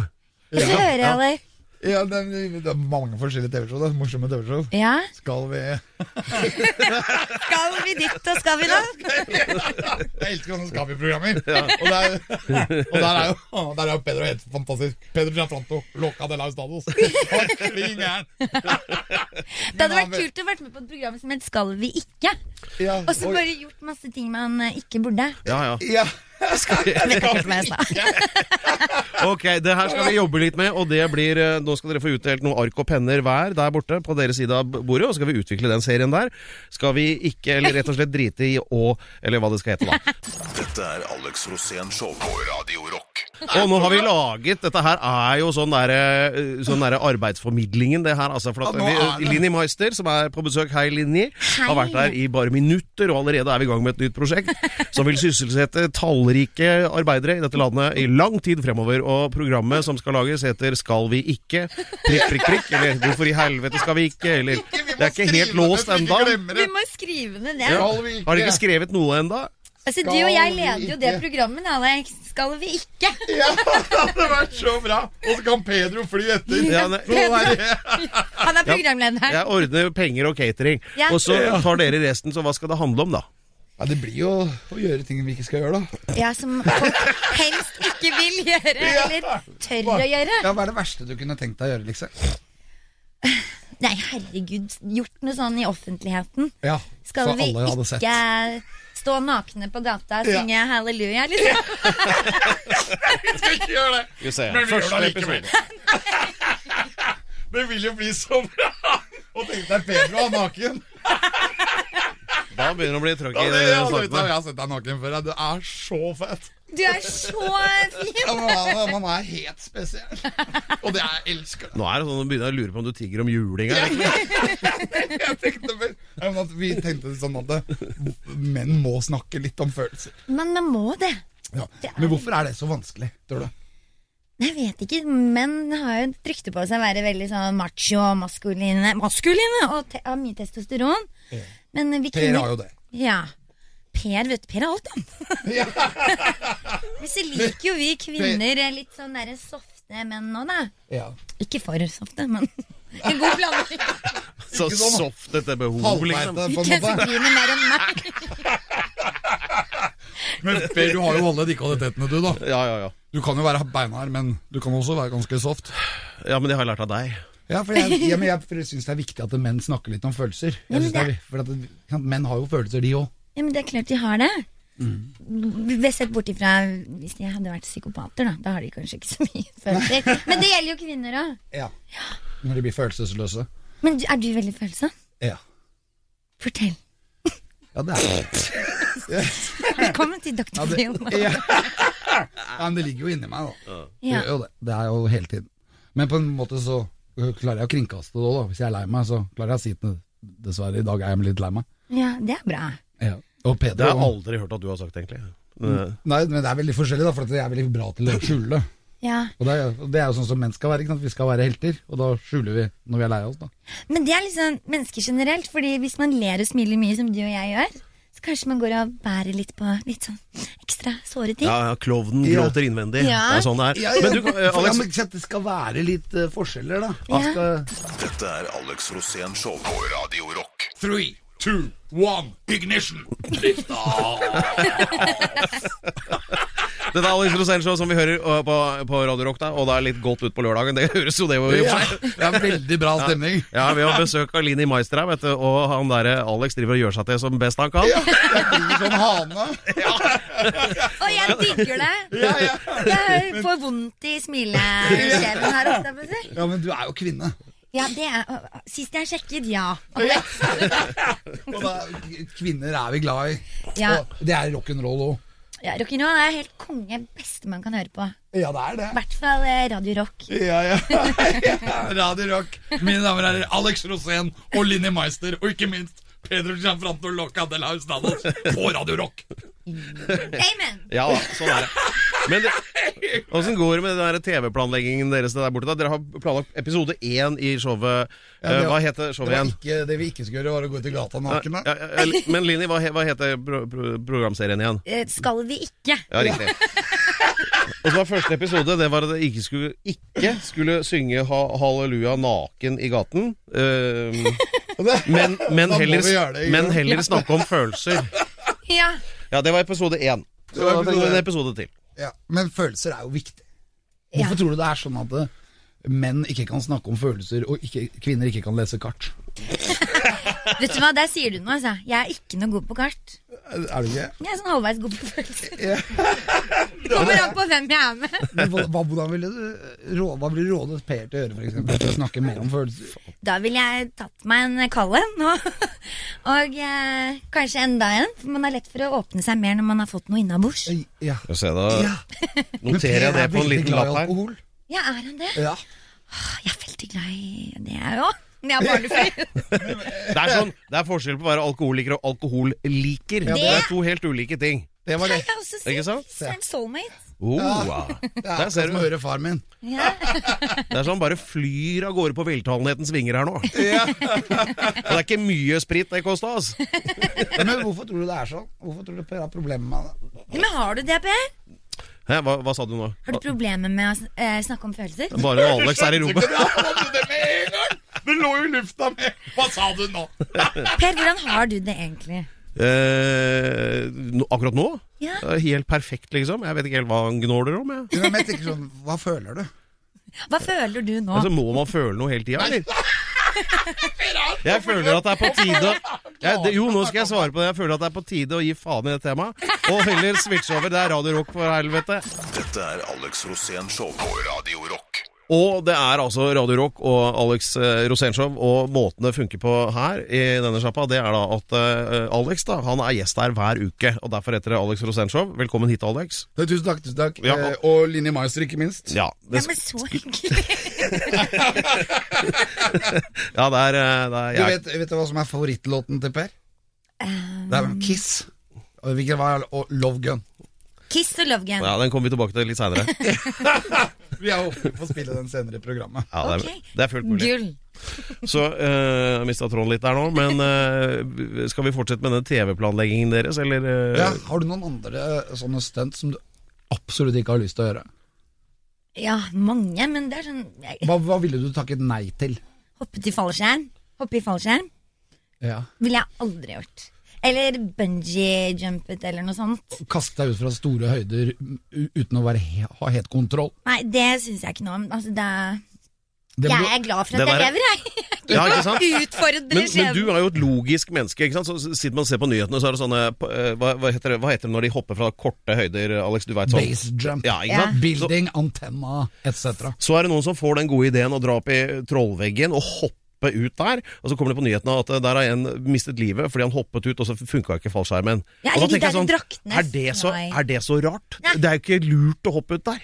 Speaker 5: Få høre,
Speaker 4: Ja.
Speaker 5: Alex.
Speaker 3: Ja, det er, det er mange forskjellige TV-show. Det er morsomme TV-show.
Speaker 5: Ja?
Speaker 3: Skal vi Jeg
Speaker 5: Skal vi dit, og skal vi da?
Speaker 3: elsker sånne Skal vi-programmer. Og, det er- og der er jo Der er jo Pedro helt fantastisk. Pedro Gianfranto, Loca de la Estados. Han er klin gæren.
Speaker 5: Det hadde vært kult å vært med på et program som het Skal vi ikke?
Speaker 3: Ja,
Speaker 5: Og så
Speaker 3: oi.
Speaker 5: bare gjort masse ting man eh, ikke burde.
Speaker 4: Ja, ja.
Speaker 3: ja.
Speaker 5: Jeg vet ikke helt hva jeg sa.
Speaker 4: Ok, det her skal vi jobbe litt med, og det blir eh, Nå skal dere få utdelt noen ark og penner hver der borte på deres side av bordet, og så skal vi utvikle den serien der. Skal vi ikke, eller rett og slett drite i å Eller hva det skal hete, da.
Speaker 2: Dette er Alex Rosén Show på Radio Rock.
Speaker 4: Og nå har vi laget Dette her er jo sånn derre eh, sånn derre arbeidsformidlingen, det her, altså. For at
Speaker 3: Ja, nå
Speaker 4: vi,
Speaker 3: er det.
Speaker 4: Linni Meister, som er på besøk, hei Linni,
Speaker 5: Hei.
Speaker 4: har vært der i bare minutter, og allerede er vi i gang med et nytt prosjekt som vil sysselsette tallrike arbeidere i dette landet i lang tid fremover. Og programmet som skal lages, heter Skal vi ikke? Prikk, prikk, prikk. Eller Hvorfor i helvete skal vi ikke? Eller Det er ikke helt låst ennå.
Speaker 5: Vi må skrive ned det.
Speaker 3: Skal vi ikke?
Speaker 4: Har dere ikke skrevet noe ennå?
Speaker 5: Altså,
Speaker 3: Skal
Speaker 5: Du og jeg
Speaker 3: vi
Speaker 5: leder jo det
Speaker 3: ikke?
Speaker 5: programmet, Alex. Skal vi ikke?
Speaker 3: Ja, det hadde vært så bra! Og så kan Pedro fly etter.
Speaker 4: Ja, ne-
Speaker 3: Så er det-
Speaker 5: Han er programlederen.
Speaker 4: Jeg ordner penger og catering.
Speaker 5: Ja.
Speaker 4: Og så tar dere resten, så hva skal det handle om, da?
Speaker 3: Ja, det blir jo å gjøre ting vi ikke skal gjøre, da.
Speaker 5: Ja, Som folk helst ikke vil gjøre, eller tør å gjøre.
Speaker 1: Ja, Hva er det verste du kunne tenkt deg å gjøre, liksom?
Speaker 5: Nei, herregud. Gjort noe sånn i offentligheten.
Speaker 3: Ja,
Speaker 5: Skal vi ikke stå nakne på gata og
Speaker 3: Ja.
Speaker 5: synge halleluja, liksom?
Speaker 3: Skal ikke gjøre det!
Speaker 4: Skal vi se.
Speaker 3: Men vi gjør det
Speaker 4: Første
Speaker 3: allikevel. Det vil jo bli så bra! Og tenk deg Pedro han naken.
Speaker 4: Da begynner det å bli trøkk
Speaker 3: Ja,
Speaker 4: i
Speaker 3: (laughs) det, ja, det, vet du,
Speaker 4: sakene.
Speaker 3: jeg har sett deg naken før. ja. Du er så fett.
Speaker 5: Du er så fin!
Speaker 3: Ja, men han, han er helt spesiell. Og det jeg elsker. det.
Speaker 4: Nå er det sånn, nå begynner jeg å lure på om du tigger om juling her.
Speaker 3: Jeg tenkte, vel- ja, men at vi tenkte sånn at det- menn må snakke litt om følelser.
Speaker 5: Men man må det.
Speaker 3: Ja. Men hvorfor er det så vanskelig, tror du?
Speaker 5: Jeg vet ikke, menn har jo et rykte på seg å være veldig sånn macho og maskuline, maskuline og te har mye testosteron. Men vi
Speaker 3: Per
Speaker 5: kvinner
Speaker 3: har jo det.
Speaker 5: Ja. Per vet du, Per er alt, han. (laughs) Men så liker jo vi kvinner litt sånn derre softe menn nå, da.
Speaker 3: Ja.
Speaker 5: Ikke for softe,
Speaker 3: (laughs)
Speaker 5: men en god blanding.
Speaker 4: Så
Speaker 3: Ikke sånn.
Speaker 4: soft etter behov, liksom.
Speaker 3: Halvveite, på en
Speaker 5: Ikke
Speaker 3: (laughs)
Speaker 5: så
Speaker 3: måte.
Speaker 5: griner mer enn meg.
Speaker 3: Men Per, du har jo alle de kvalitetene, du, da.
Speaker 4: Ja, ja, ja.
Speaker 3: Du kan jo være beinhard, men du kan også være ganske soft.
Speaker 4: Ja, men det har jeg lært av deg.
Speaker 3: Ja, for jeg, ja, men jeg syns det er viktig at menn snakker litt om følelser.
Speaker 5: Ja,
Speaker 3: Jeg
Speaker 5: men
Speaker 3: synes det er, for at det, sant, menn har jo følelser, de òg.
Speaker 5: Ja, men det er klart de har det. Vi har Sett bort ifra hvis de hadde vært psykopater, da. Da har de kanskje ikke så mye (laughs) følelser. Men det gjelder jo kvinner òg.
Speaker 3: Ja. Når de blir følelsesløse.
Speaker 5: Men du- er du veldig følsom?
Speaker 3: Ja.
Speaker 5: Fortell.
Speaker 3: Ja, det er
Speaker 5: Velkommen til Dr.
Speaker 3: det-
Speaker 5: Phil.
Speaker 3: ja. ja, men det ligger jo inni meg, da.
Speaker 5: Ja.
Speaker 3: Det gjør jo det. det er jo hele tiden. Men på en måte så øh, klarer jeg å kringkaste det òg, da. Hvis jeg er lei meg, så klarer jeg å si det. Dessverre, i dag er jeg litt lei meg.
Speaker 5: ja, det er bra.
Speaker 3: Ja. Og
Speaker 4: Det
Speaker 3: Peder
Speaker 4: har jeg
Speaker 3: òg.
Speaker 4: aldri hørt at du har sagt, egentlig. Eh,
Speaker 5: Mm.
Speaker 4: Men,
Speaker 3: Nei, men det er veldig forskjellig, da, for at jeg er veldig bra til å skjule det.
Speaker 5: Ja.
Speaker 3: Og det er, og det er jo sånn som menn skal være. Ikke sant? Vi skal være helter, og da skjuler vi når vi er lei oss. Da.
Speaker 5: Men det er liksom mennesker generelt, fordi hvis man ler og smiler mye som du og jeg gjør, så kanskje man går og bærer litt på litt sånn ekstra såre ting.
Speaker 4: Ja, ja, klovnen
Speaker 3: Ja.
Speaker 4: gråter innvendig.
Speaker 5: Ja.
Speaker 4: Det er sånn det er. Men du, eh, Alex,
Speaker 3: det skal være litt eh, forskjeller, da.
Speaker 5: Man Ja. skal-
Speaker 2: Dette er Alex Rosén Show på Radio Rock.
Speaker 1: Three, two, one, ignition!
Speaker 3: (laughs)
Speaker 1: Lift off!
Speaker 4: Dette er Alex Rosén Show som vi hører eh, på, på Radio Rock, da, og det er litt godt ut på lørdagen. Det høres jo det jo i og for seg.
Speaker 3: Det er veldig bra stemning.
Speaker 4: Ja, vi har besøk av Lini Maistra, vet du, og han der eh, Alex driver og gjør seg til som best han kan.
Speaker 3: Jeg blir sånn hane.
Speaker 5: Og jeg digger det! Jeg får vondt i smileskiven her ofte. må jeg
Speaker 3: (laughs)
Speaker 5: si.
Speaker 3: Ja, men du er jo kvinne.
Speaker 5: Ja, det er å, å, Sist jeg sjekket, ja.
Speaker 3: Og da, kvinner er vi glad i.
Speaker 5: Ja.
Speaker 3: Og det er rock'n'roll òg.
Speaker 5: ja Rock'n'roll er helt konge. Beste man kan høre på.
Speaker 3: Ja, det er det.
Speaker 5: I hvert fall eh, Radio Rock.
Speaker 3: Ja, ja. Radio Rock.
Speaker 1: Mine damer og herrer, Alex Rosén og Linni Meister, og ikke minst Pedro Gianfranto Loca de la Hustados på Radio Rock.
Speaker 5: Amen!
Speaker 4: Ja da, sånn er det. Men det- åssen går det med den der TV-planleggingen deres der borte? da? Dere har planlagt episode én i showet.
Speaker 3: Ja, det
Speaker 4: Eh,
Speaker 3: var-
Speaker 4: Hva heter
Speaker 3: Det,
Speaker 4: showet
Speaker 3: var
Speaker 4: igjen?
Speaker 3: ikke, det vi ikke skulle gjøre, var å gå ut i gata nakne.
Speaker 4: Ja, ja, ja, men Lini, hva, he- hva heter pro pro programserien igjen?
Speaker 5: Eh, Skal vi ikke?
Speaker 4: Ja, riktig. Og så var første episode det var at jeg ikke skulle, ikke skulle synge ha halleluja naken i gaten. Ehm, men, men,
Speaker 3: Da må
Speaker 4: heller,
Speaker 3: vi gjøre det, ikke
Speaker 4: men
Speaker 3: sant?
Speaker 4: heller snakke om følelser.
Speaker 5: Ja.
Speaker 4: Ja, det var episode én. Så
Speaker 3: var episode
Speaker 4: da tenker vi en
Speaker 3: én.
Speaker 4: episode til.
Speaker 3: (laughs) Ja, men følelser er jo viktig.
Speaker 5: Ja.
Speaker 3: Hvorfor tror du det er sånn at eh, menn ikke kan snakke om følelser, og ikke, kvinner ikke kan lese kart?
Speaker 5: Vet du hva, der sier du noe, altså. Jeg er ikke noe god på kart.
Speaker 3: Er du ikke?
Speaker 5: Jeg er sånn halvveis god på følelser. (laughs) Det kommer an på hvem jeg er med.
Speaker 3: Men hva, hva- hvordan ville du rå- hva ville du rådet Per til å gjøre, for eksempel, til å snakke mer om følelser?
Speaker 5: Da ville jeg tatt meg en kald en, og, og eh, kanskje enda en. For man har lett for å åpne seg mer når man har fått noe innabords.
Speaker 3: Ja.
Speaker 4: Skal vi se, da
Speaker 3: ja. Men Per
Speaker 4: noterer jeg det
Speaker 3: er
Speaker 4: på en
Speaker 3: veldig
Speaker 4: liten
Speaker 3: glad i
Speaker 4: lapp her.
Speaker 3: alkohol.
Speaker 5: Ja, er han det?
Speaker 3: Ja.
Speaker 5: Jeg er veldig glad i det, jeg òg. Men jeg er barnefri.
Speaker 4: Det er, sånn, det er forskjell på å være alkoholiker og alkoholliker.
Speaker 5: det-
Speaker 4: det er to helt ulike ting.
Speaker 3: Det (laughs) var det.
Speaker 5: Jeg er også
Speaker 4: Ikke
Speaker 5: sier
Speaker 4: sant?
Speaker 5: søren soulmate.
Speaker 4: Oh, wow.
Speaker 3: Det er
Speaker 4: Der ser
Speaker 3: akkurat som å
Speaker 4: du.
Speaker 3: høre far min.
Speaker 5: Ja.
Speaker 4: Det er sånn bare flyr av gårde på veltalenhetens vinger her nå. Og (laughs) det er ikke mye sprit det kosta, altså.
Speaker 3: Ja, Men hvorfor tror du det er sånn? Hvorfor tror du Per har problemer med det?
Speaker 5: Men har du det, Per?
Speaker 4: Hæ, hva, hva sa du nå?
Speaker 5: Har du problemer med å sn- eh, snakke om følelser?
Speaker 3: (laughs)
Speaker 4: Bare når Alex er i rommet.
Speaker 1: Det med en gang! Det lå jo i lufta med Hva sa du nå?
Speaker 5: Per, hvordan har du det egentlig?
Speaker 4: Eh, nå- akkurat nå?
Speaker 5: Ja.
Speaker 4: Eh, Helt perfekt, liksom. Jeg vet ikke helt hva han gnåler om. Jeg.
Speaker 3: Jo, men jeg tenker sånn, hva føler du?
Speaker 5: Hva føler du nå?
Speaker 4: Altså, må man føle noe hele tida, eller? Jeg føler at det er på tide jeg, det, Jo, nå skal jeg svare på det. Jeg føler at det er på tide å gi faen i det temaet. Og heller switche over. Det er Radio Rock, for helvete.
Speaker 2: Dette er Alex Rosén Show på Radio Rock.
Speaker 4: Og det er altså Radio Rock og Alex eh, Rosénshow, og måten det funker på her i denne sjappa, det er da at eh, Alex da, han er gjest her hver uke, og derfor heter det Alex Rosénshow. Velkommen hit, Alex.
Speaker 3: Tusen takk, tusen takk.
Speaker 4: Ja. Eh,
Speaker 3: og Linni Meister, ikke minst.
Speaker 4: Ja,
Speaker 5: Ja,
Speaker 4: det,
Speaker 5: men så
Speaker 4: (laughs)
Speaker 5: hyggelig.
Speaker 4: ja, det er, eh, det er
Speaker 3: Du
Speaker 4: jeg,
Speaker 3: vet, vet du hva som er favorittlåten til Per? Det er vel Kiss. Og hvilken var og Love Gun.
Speaker 5: Kiss og Love Gun.
Speaker 4: Ja, Den kommer vi tilbake til litt seinere.
Speaker 3: Vi er åpne for å spille den senere i programmet.
Speaker 4: Ja, det,
Speaker 5: Ok.
Speaker 4: er- det er fullt mulig.
Speaker 5: Gull.
Speaker 4: Så øh, jeg mista tråden litt der nå, men øh, skal vi fortsette med den TV-planleggingen deres, eller? øh,
Speaker 3: Ja, har du noen andre eh, sånne stunt som du absolutt ikke har lyst til å gjøre?
Speaker 5: Ja, mange, men det er sånn jeg,
Speaker 3: Hva, hva ville du takket nei til?
Speaker 5: Hoppet i fallskjerm. Hoppe i fallskjerm
Speaker 3: Ja.
Speaker 5: ville jeg aldri gjort. Eller bungee-jumpet eller noe sånt.
Speaker 3: Kaste deg ut fra store høyder u- uten å være he ha helt kontroll?
Speaker 5: Nei, det syns jeg ikke noe om. Altså, det,
Speaker 3: Det
Speaker 5: jeg
Speaker 3: må-
Speaker 5: er glad for
Speaker 4: Det
Speaker 5: at jeg
Speaker 4: der-
Speaker 5: lever, jeg.
Speaker 4: (laughs) Ja, ikke sant?
Speaker 5: (laughs) Utfordrer
Speaker 4: Men, men du
Speaker 5: skjebnen.
Speaker 4: er jo et logisk menneske. ikke sant? Så sitter man og ser på nyhetene, så er det sånne øh, hva, hva, heter det, hva heter det når de hopper fra korte høyder, Alex? Du veit sånn.
Speaker 3: Base jump,
Speaker 4: Ja, ikke
Speaker 5: Ja.
Speaker 4: sant? Så,
Speaker 3: building, antenna etc.
Speaker 4: så er det noen som får den gode ideen å dra opp i trollveggen og hoppe ut der, og så kommer det på nyhetene at eh, der har en mistet livet fordi han hoppet ut, og så funka ikke fallskjermen.
Speaker 5: Ja,
Speaker 4: og da
Speaker 5: eller
Speaker 4: tenker
Speaker 5: de
Speaker 4: jeg
Speaker 5: der
Speaker 4: sånn,
Speaker 5: draktene.
Speaker 4: er det, så,
Speaker 5: Nei.
Speaker 4: er det så rart?
Speaker 5: Nei.
Speaker 4: Det er jo ikke lurt å hoppe ut der.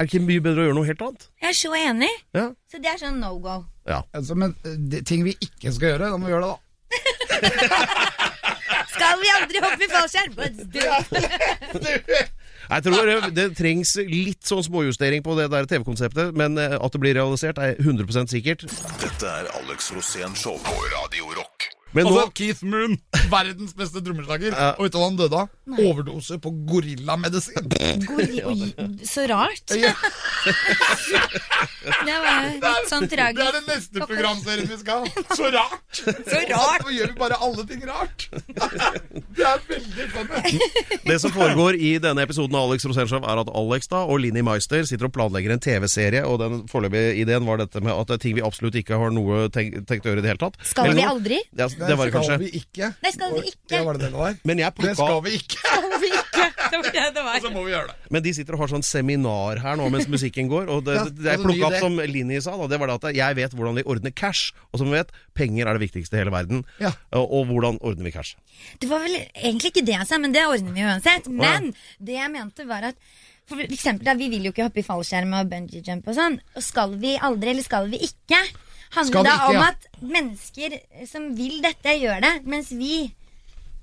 Speaker 4: Er det ikke mye bedre å gjøre noe helt annet?
Speaker 5: Jeg er så enig.
Speaker 4: Ja.
Speaker 5: Så det er sånn no go.
Speaker 4: ja.
Speaker 3: Altså, men eh, det, ting vi ikke skal gjøre, da må vi gjøre det, da.
Speaker 5: Skal vi aldri hoppe i fallskjerm? Let's do it.
Speaker 4: Jeg tror det, det trengs litt sånn småjustering på det der TV-konseptet, men eh, at det blir realisert er 100 sikkert.
Speaker 2: Dette er Alex Rosén Show på Radio Rock.
Speaker 4: Men nå,
Speaker 3: Også Keith Moon, (laughs) verdens beste trommeslager.
Speaker 4: Altså, Ja.
Speaker 3: Og vet du hva han døde av? Overdose på gorillamedisin. (laughs)
Speaker 5: Gorilla- Oi, Så rart. (laughs) Det var litt sånn
Speaker 3: Det er
Speaker 5: tragisk.
Speaker 3: den neste programserien vi skal ha. Så rart! Så
Speaker 5: rart.
Speaker 3: Nå gjør vi bare alle ting rart. Det er veldig funny.
Speaker 4: det som foregår i denne episoden av Alex Rosenshov, er at Alex da og Linni Meister sitter og planlegger en TV-serie, og den foreløpige ideen var dette med at det er ting vi absolutt ikke har noe tenk, tenkt å gjøre i det hele tatt.
Speaker 5: Skal
Speaker 4: Eller
Speaker 5: vi
Speaker 4: noe-
Speaker 5: aldri?
Speaker 4: Ja, det var det
Speaker 3: skal
Speaker 4: kanskje.
Speaker 3: vi ikke.
Speaker 5: Nei, skal vi ikke.
Speaker 3: Ja, var det det det var?
Speaker 4: Men jeg
Speaker 3: Det
Speaker 4: plukka
Speaker 3: skal vi ikke. (laughs)
Speaker 5: Skal vi ikke? Det var det det var.
Speaker 3: Så må vi gjøre det.
Speaker 4: Men de sitter og har sånn seminar her nå
Speaker 3: (laughs)
Speaker 4: mens musikken går, og det,
Speaker 3: Ja,
Speaker 4: det, det jeg
Speaker 3: altså, ny
Speaker 4: plukka opp
Speaker 3: idé.
Speaker 4: som Linni sa, da, det var det at jeg vet hvordan de ordner cash, og som vi vet, penger er det viktigste i hele verden.
Speaker 3: Ja.
Speaker 4: Og, og hvordan ordner vi cash?
Speaker 5: Det var vel egentlig ikke det jeg sa, men det ordner vi uansett. Men det jeg mente var at for eksempel, da, Vi vil jo ikke hoppe i fallskjerm og bungee jump og sånn. Og skal vi aldri, eller skal vi ikke?
Speaker 3: Skal
Speaker 5: Handler
Speaker 3: vi
Speaker 5: da
Speaker 3: ikke,
Speaker 5: om
Speaker 3: ja.
Speaker 5: at mennesker som vil dette, gjør det. Mens vi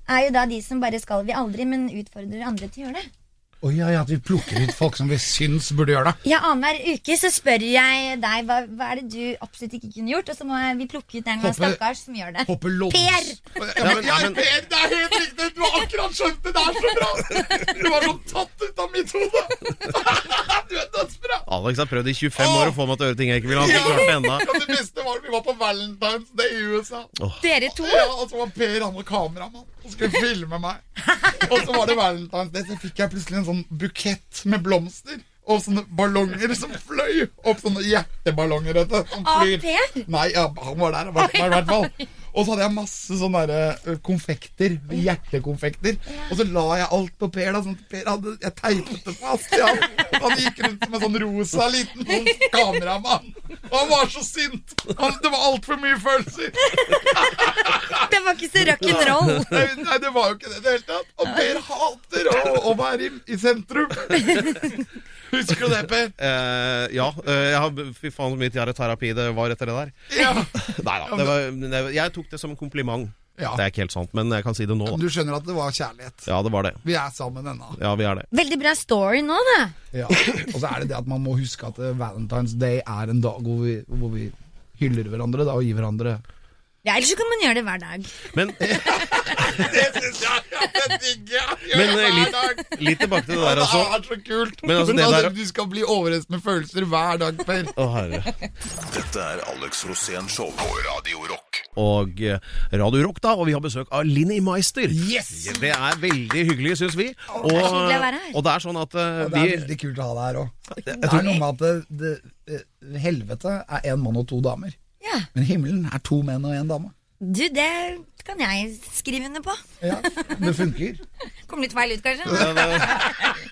Speaker 5: er jo da de som bare skal vi aldri, men utfordrer andre til å gjøre det.
Speaker 3: Å ja, ja, at vi plukker ut folk som vi syns burde gjøre det.
Speaker 5: Ja, Annenhver uke så spør jeg deg hva, hva er det du absolutt ikke kunne gjort, og så må jeg- vi plukke ut en eller annen
Speaker 3: Hoppe-
Speaker 5: stakkars som gjør det.
Speaker 3: Hoppe lods.
Speaker 5: Per!
Speaker 3: Ja, men, ja,
Speaker 4: men-
Speaker 3: Per, det er helt riktig! Du har akkurat skjønt det! Det er så bra! Du var sånn tatt ut av mitt hode! (laughs) Du er dødsbra!
Speaker 4: Alex har prøvd i 25 år å få meg til å gjøre ting jeg ikke vil ha. Han har ikke klart det ennå.
Speaker 3: Ja, det beste var vi var på Valentine's Day i USA.
Speaker 5: Dere to.
Speaker 3: Ja, og så var Per han var kameramann og skulle filme meg. (laughs) Og så var det Valentine's Day, så fikk jeg plutselig en sånn bukett med blomster. Og sånne ballonger som fløy opp. Sånne hjerteballonger. Vet du, som
Speaker 5: Av
Speaker 3: flyr.
Speaker 5: Per?
Speaker 3: Nei, ja, han var der. Han var der i hvert fall. Og så hadde jeg masse sånne der, ø, konfekter. Hjertekonfekter. Og så la jeg alt på Per. da sånn at Per hadde, Jeg teipet det fast. Ja. Han gikk rundt som en sånn rosa liten sånn kameramann. Og han var så sint! Han, det var altfor mye følelser.
Speaker 5: Det var ikke så rock'n'roll.
Speaker 4: (laughs)
Speaker 3: Nei, nei, det var jo ikke det i det hele tatt. Og Per hater å, å være i, i sentrum. (laughs) Husker du det, Per?
Speaker 4: Eh, ja, eh, jeg har, fy faen så mye terapi det var etter det der.
Speaker 3: Ja.
Speaker 4: Nei da. Det var, det, jeg tok det som en kompliment.
Speaker 3: Ja.
Speaker 4: Det er ikke helt sant, men jeg kan si det nå, da.
Speaker 3: Du skjønner at det var kjærlighet.
Speaker 4: Ja, det var det.
Speaker 3: Vi er sammen ennå.
Speaker 4: Ja, vi er det.
Speaker 5: Veldig bra story nå, da.
Speaker 3: Ja. Og så er det det at man må huske at eh, Valentine's Day er en dag hvor vi, hvor vi hyller hverandre da, og gir hverandre
Speaker 5: Ja, Ellers så kan man gjøre det hver dag.
Speaker 3: (laughs)
Speaker 4: Men, eh,
Speaker 3: Det syns jeg ja, det digger jeg! Gjør
Speaker 4: men
Speaker 3: det
Speaker 4: eh,
Speaker 3: hver dag.
Speaker 4: litt, litt tilbake til det der
Speaker 3: Det
Speaker 4: også.
Speaker 3: (laughs) er så kult!
Speaker 4: Men altså, det
Speaker 3: at
Speaker 4: der-
Speaker 3: Du skal bli overrasket med følelser hver dag, Per.
Speaker 4: Å, herre.
Speaker 2: Dette er Alex Rosén Show på Radio Rock.
Speaker 4: og eh, Radio Rock, da. Og vi har besøk av Linni Meister.
Speaker 3: Yes!
Speaker 4: Det er veldig hyggelig, syns vi. Og,
Speaker 5: det er hyggelig å være her.
Speaker 4: og det er sånn at eh,
Speaker 3: Ja, Det er
Speaker 4: vi
Speaker 3: veldig kult å ha deg her òg. Det er noe med at det, det, eh, helvete er én mann og to damer.
Speaker 5: Ja,
Speaker 3: Men himmelen er to menn og én dame.
Speaker 5: du, det kan jeg skrive under på.
Speaker 3: Ja, Det funker.
Speaker 5: Kom litt feil ut,
Speaker 4: (laughs)
Speaker 5: kanskje.
Speaker 4: Ja,
Speaker 5: (laughs) men-
Speaker 4: det-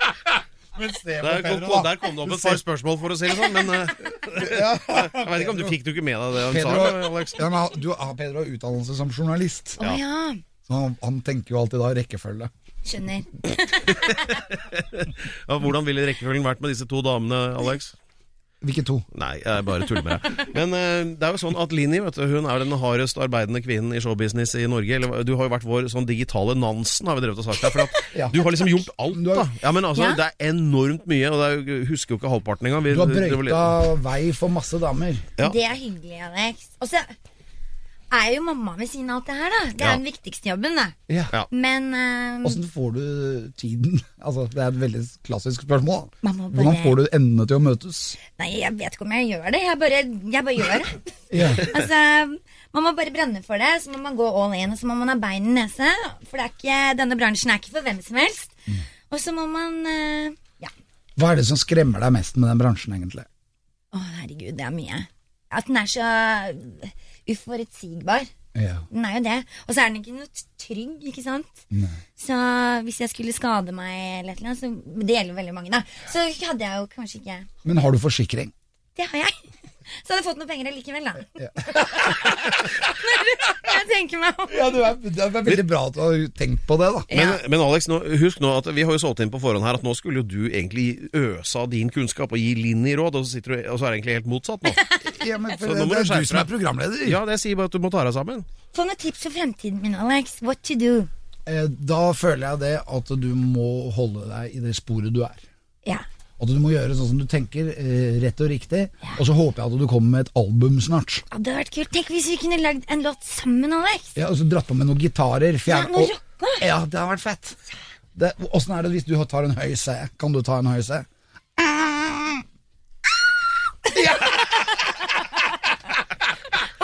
Speaker 3: Men se
Speaker 4: Der kom, der kom det opp et par spørsmål, for å si det sånn, men eh, Jeg vet ikke om du fikk du ikke med deg det hun sa, Alex?
Speaker 3: ja, men, han- du, ah, Pedro har utdannelse som journalist,
Speaker 5: Å ja,
Speaker 3: så han, han tenker jo alltid da rekkefølge.
Speaker 5: skjønner.
Speaker 4: Ja, hvordan ville rekkefølgen vært med disse to damene, Alex?
Speaker 3: Hvilke to?
Speaker 4: Nei, jeg bare tuller med deg. Men eh, det er jo sånn at Lini vet du, hun er den hardest arbeidende kvinnen i showbusiness i Norge. Eller, du har jo vært vår sånn digitale Nansen, har vi drevet og sagt. Der, for at
Speaker 3: Ja.
Speaker 4: Du har liksom gjort alt,
Speaker 3: Du har-
Speaker 4: da. Ja, men altså,
Speaker 5: Ja.
Speaker 4: Det er enormt mye, og det er, jo- husker jo ikke halvparten engang. Vi-
Speaker 3: Du har
Speaker 4: det var litt-
Speaker 3: brøyta vei for masse damer.
Speaker 4: Ja.
Speaker 5: Det er hyggelig, Alex. Og så er jo mamma ved siden av alt det her, da. Det er
Speaker 4: Ja.
Speaker 5: den viktigste jobben, det.
Speaker 3: Ja.
Speaker 4: Ja.
Speaker 5: Men eh,
Speaker 3: Åssen får du tiden? Altså, det er et veldig klassisk spørsmål. da.
Speaker 5: Man må bare-
Speaker 3: Hvordan får du endene til å møtes?
Speaker 5: Nei, jeg vet ikke om jeg gjør det. Jeg bare, jeg bare gjør det.
Speaker 3: Ja.
Speaker 5: altså, man må bare brenne for det, så må man gå all in. Og så må man ha bein i nese, for det er ikke, denne bransjen er ikke for hvem som helst. Og så må man eh, Ja.
Speaker 3: Hva er det som skremmer deg mest med den bransjen, egentlig?
Speaker 5: Å, herregud, det er mye. At den er så uforutsigbar.
Speaker 3: Ja.
Speaker 5: Den er jo det. Og så er den ikke noe t- trygg, ikke sant. Så hvis jeg skulle skade meg eller et eller annet, så Det gjelder jo veldig mange, da. Så hadde jeg jo kanskje ikke
Speaker 3: Men har du forsikring?
Speaker 5: Det har jeg. (laughs) Så hadde jeg fått noen penger allikevel, da. (laughs) jeg tenker meg om.
Speaker 3: Ja, det er, veldig bra at du har tenkt på det, da.
Speaker 4: Men,
Speaker 5: Ja.
Speaker 4: men Alex, nå, husk nå at vi har jo solgt inn på forhånd her at nå skulle jo du egentlig øse av din kunnskap og gi Linn i råd, og så, sitter du, og så er det egentlig helt
Speaker 3: (laughs)
Speaker 4: motsatt nå.
Speaker 3: Ja, men for
Speaker 4: Så nå
Speaker 3: det,
Speaker 4: må
Speaker 3: det
Speaker 4: du
Speaker 3: er
Speaker 4: skjerpe
Speaker 3: du som er
Speaker 4: deg.
Speaker 3: programleder.
Speaker 4: Ja, det sier bare at du må ta deg sammen.
Speaker 5: Få noen tips for fremtiden min, Alex. What to do?
Speaker 3: Eh, Da føler jeg det at du må holde deg i det sporet du er.
Speaker 5: Ja.
Speaker 3: At du må gjøre sånn som du tenker, eh, rett og riktig. Og så håper jeg at du kommer med et album snart.
Speaker 5: Ja, Det hadde vært kult. Tenk hvis vi kunne lagd en låt sammen, Alex.
Speaker 3: Ja, og så dratt på med noen gitarer.
Speaker 5: Ja, noe
Speaker 3: og-
Speaker 5: rocka.
Speaker 3: Ja, det har vært fett. Det, hvordan er det hvis du tar en høy C? Kan du ta en høy C?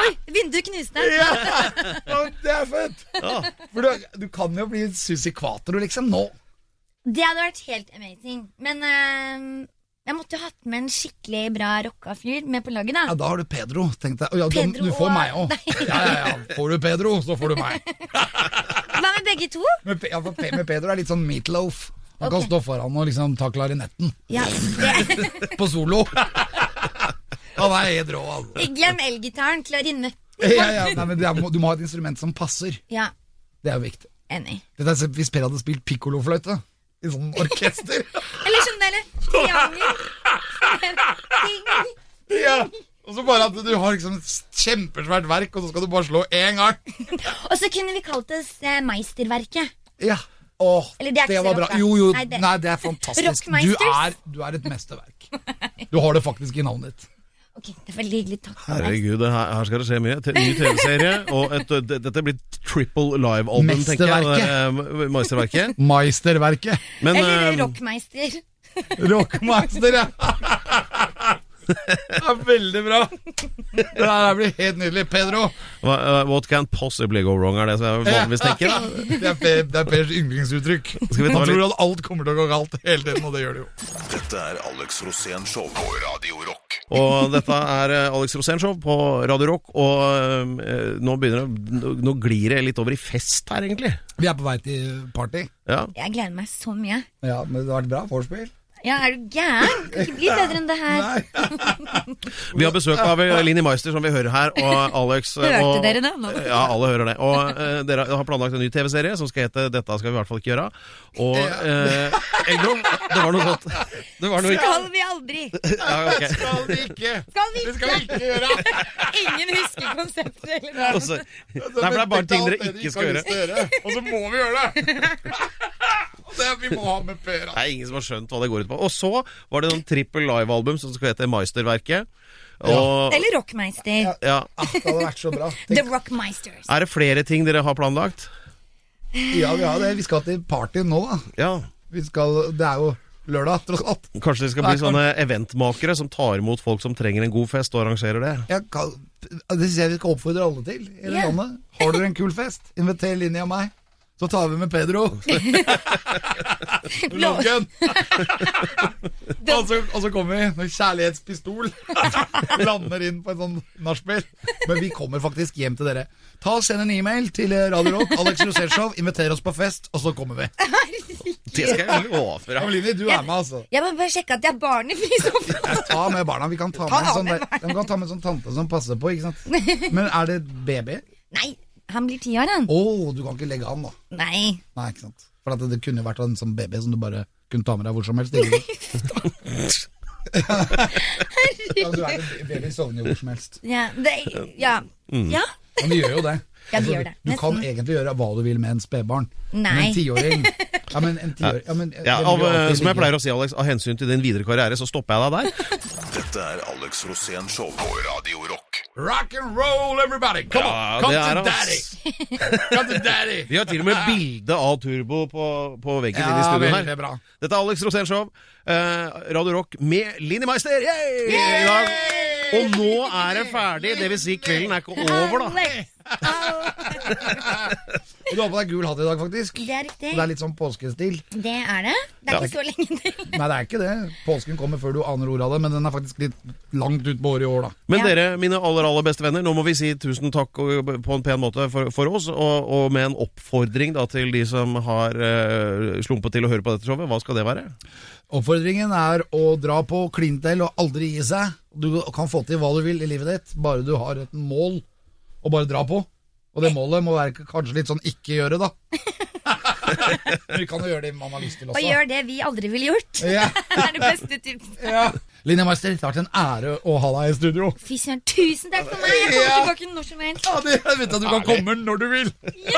Speaker 5: Oi, vinduet knuste.
Speaker 3: Ja, det er fett! For du, du kan jo bli Susi Quatro, liksom, nå.
Speaker 5: Det hadde vært helt amazing. Men eh, jeg måtte jo hatt med en skikkelig bra rocka fyr med på laget,
Speaker 3: Ja,
Speaker 5: da.
Speaker 3: da har du Pedro, tenk deg. Å, Ja, du,
Speaker 5: Pedro
Speaker 3: du får
Speaker 5: og-
Speaker 3: meg
Speaker 5: (laughs)
Speaker 3: òg. Ja, ja, ja. Får du Pedro, så får du meg.
Speaker 5: Hva med begge to?
Speaker 3: Men, Pe- ja, for Pe- med Pedro er litt sånn meatloaf. Han kan
Speaker 5: Ok.
Speaker 3: stå foran og liksom ta klarinetten
Speaker 5: Ja, (laughs) det.
Speaker 3: på
Speaker 5: (laughs)
Speaker 3: solo. Han er helt rå, han.
Speaker 5: Ikke Glem elgitaren, klarinetten.
Speaker 3: Ja, ja, nei, men det er, du må ha et instrument som passer.
Speaker 5: Ja,
Speaker 3: Det er jo viktig.
Speaker 5: enig.
Speaker 3: Dette er som Hvis Per hadde spilt pikkolofløyte i sånn
Speaker 5: (laughs)
Speaker 3: orkester
Speaker 5: Eller sånn der triangel. (laughs) Ting.
Speaker 3: ja. Og så bare at du har liksom et kjempesvært verk, og så skal du bare slå én gang.
Speaker 5: Og så kunne vi kalt oss eh, Meisterverket.
Speaker 3: Ja. Åh,
Speaker 5: Eller det er ikke så
Speaker 3: var bra.
Speaker 5: rock, da.
Speaker 3: Jo, jo,
Speaker 5: Nei,
Speaker 3: nei,
Speaker 5: det-
Speaker 3: det, er fantastisk. Du er,
Speaker 5: Rockmeisters.
Speaker 3: du er et mesterverk. Du har det faktisk i navnet ditt.
Speaker 5: Ok, det er veldig hyggelig. Takk.
Speaker 4: Herregud, det her, her skal det skje mye. Te- Ny TV-serie, og et, d- dette blir triple live-album, tenker jeg.
Speaker 3: Mesterverket.
Speaker 4: Eh,
Speaker 3: (laughs)
Speaker 4: Meisterverket.
Speaker 3: Meisterverket.
Speaker 4: Men,
Speaker 5: Eller
Speaker 4: eh,
Speaker 5: rockmeister.
Speaker 3: Rockmeister, ja. Det er veldig bra. Det der blir helt nydelig. Pedro.
Speaker 4: hva- eh, What can possibly go wrong, er det som jeg vanligvis tenker. Da.
Speaker 3: Det er, Per, det er Pers yndlingsuttrykk.
Speaker 4: Skal vi ta
Speaker 3: Han tror
Speaker 4: litt-
Speaker 3: at alt kommer til å gå galt hele tiden, og det gjør det jo.
Speaker 2: Dette er Alex Rosén Show på Radio Rock.
Speaker 4: Og dette er eh, Alex Rosénshow på Radio Rock, og eh, nå begynner det nå- Nå glir det litt over i fest her, egentlig.
Speaker 3: Vi er på vei til party.
Speaker 4: Ja.
Speaker 5: Jeg gleder meg så mye.
Speaker 3: Ja, men det har vært bra vorspiel.
Speaker 5: Ja, er du gæren? Kan ikke bli bedre enn det her.
Speaker 4: Vi har besøk av eh, Linni Meister, som vi hører her,
Speaker 5: (laughs)
Speaker 4: og Alex eh,
Speaker 5: Hørte
Speaker 4: og,
Speaker 5: dere det nå?
Speaker 4: Ja, alle hører det. Og eh, dere har planlagt en ny TV-serie som skal hete 'Dette skal vi i hvert fall ikke gjøre'. Og eh, Eggblom, det var noe sånt. Det var noe
Speaker 5: Skal vi aldri.
Speaker 4: ja, ok.
Speaker 3: Skal vi ikke?
Speaker 5: Skal vi
Speaker 3: Det skal vi
Speaker 5: ikke.
Speaker 3: ikke gjøre.
Speaker 5: Ingen husker konseptet eller noe.
Speaker 4: Og så- Nei, for det er bare ting dere ikke skal gjøre.
Speaker 3: Og så må vi gjøre det.
Speaker 4: (laughs)
Speaker 3: Og det vi må ha med Per.
Speaker 4: Det er ingen som har skjønt hva det går ut på. Og så var det sånn trippel live-album som skal hete Meisterverket. Og
Speaker 5: Eller rockmeister.
Speaker 4: ja.
Speaker 3: Det hadde vært så bra.
Speaker 5: The Rockmeisters.
Speaker 4: Er det flere ting dere har planlagt?
Speaker 3: Ja, vi har det. Vi skal til party nå, da.
Speaker 4: Ja.
Speaker 3: Vi skal, det er jo lørdag, tross alt.
Speaker 4: Kanskje det skal bli
Speaker 3: Nei, kan-
Speaker 4: sånne eventmakere som tar imot folk som trenger en god fest, og arrangerer det?
Speaker 3: Jeg kan, det synes jeg vi skal oppfordre alle til i det
Speaker 5: Ja.
Speaker 3: landet. Har dere en kul fest, inviter Linni og meg. Så tar vi med Pedro. Logan. (laughs) og, så, og så kommer vi med kjærlighetspistol. (laughs) Lander inn på en sånn nachspiel. Men vi kommer faktisk hjem til dere. Ta og Send en e-mail til Radio Rock, Alex Rosénshow, inviter oss på fest, og så kommer vi.
Speaker 4: Det skal jeg love
Speaker 3: Ja, men
Speaker 4: deg.
Speaker 3: Linni, du er med, altså.
Speaker 5: Jeg må bare sjekke at jeg er barn i frisofaen.
Speaker 3: Ta med barna. Vi kan ta med en sånn, der, Ja, vi kan ta med en sånn tante som passer på, ikke sant. Men er det baby?
Speaker 5: Nei, han blir ti år, han.
Speaker 3: Å, du kan ikke legge han, da.
Speaker 5: Nei.
Speaker 3: Nei, ikke
Speaker 5: (laughs)
Speaker 3: sant For at det kunne jo vært en sånn baby som du bare kunne ta med deg hvor som helst. ikke sant? Ja, du er en baby sovner jo hvor som helst.
Speaker 5: Ja, det, ja.
Speaker 3: Mm.
Speaker 5: ja.
Speaker 3: Men de gjør jo det. Altså,
Speaker 5: Ja, de gjør det.
Speaker 3: Du kan
Speaker 5: Nesten.
Speaker 3: egentlig gjøre hva du vil med en spedbarn. Men
Speaker 5: Nei.
Speaker 3: En
Speaker 5: (laughs)
Speaker 3: tiåring Ja, men en tiåring ja, men,
Speaker 4: Ja,
Speaker 3: det
Speaker 4: av,
Speaker 3: vil jo
Speaker 4: eh,
Speaker 3: alltid
Speaker 4: som jeg
Speaker 3: ligge-
Speaker 4: pleier å si, Alex, av hensyn til din videre karriere, så stopper jeg deg der.
Speaker 2: Dette er Alex Rosén Show på Radio Rock.
Speaker 6: Rock and roll, everybody! Come on!
Speaker 4: Ja,
Speaker 6: Come to
Speaker 4: det er han,
Speaker 6: daddy!
Speaker 4: ass.
Speaker 6: Come to daddy!
Speaker 4: Vi har til og med
Speaker 3: (laughs)
Speaker 4: bilde av Turbo på, på veggen inne
Speaker 7: Ja,
Speaker 4: i studio
Speaker 7: veldig
Speaker 4: her.
Speaker 7: bra.
Speaker 4: Dette er Alex Rosén Show, eh, Radio Rock med Linni Meister! Yay! I dag. Og nå er det ferdig, det vil si kvelden er ikke over, da.
Speaker 5: Alex. Alex.
Speaker 3: Og du har på deg gul hatt i dag, faktisk.
Speaker 5: Det er riktig.
Speaker 3: Og det er Altså. litt sånn påskestil.
Speaker 5: Det er det. Det er ikke så lenge til.
Speaker 3: Nei, det er ikke det. Påsken kommer før du aner ordet av det, men den er faktisk litt langt ut på året i år, da.
Speaker 4: Men
Speaker 5: Ja.
Speaker 4: dere, mine aller aller beste venner, nå må vi si tusen takk og- på en pen måte for, for oss, og, og med en oppfordring da til de som har eh, slumpet til å høre på dette showet. Hva skal det være?
Speaker 3: Oppfordringen er å dra på klin til og aldri gi seg. Du kan få til hva du vil i livet ditt, bare du har et mål å bare dra på. Og det målet må være kanskje litt sånn ikke gjøre,
Speaker 6: (laughs)
Speaker 3: da. Men vi kan jo gjøre det man har lyst til
Speaker 5: Og
Speaker 3: også.
Speaker 5: gjør det vi aldri ville gjort.
Speaker 3: Ja,
Speaker 5: Det er det beste tipset.
Speaker 3: ja. Linja Meister, det har vært en ære å ha deg i studio.
Speaker 5: Fy søren, tusen takk for meg! Jeg kommer tilbake når som helst.
Speaker 6: Ja, det, jeg vet at du kan komme når du vil. (laughs)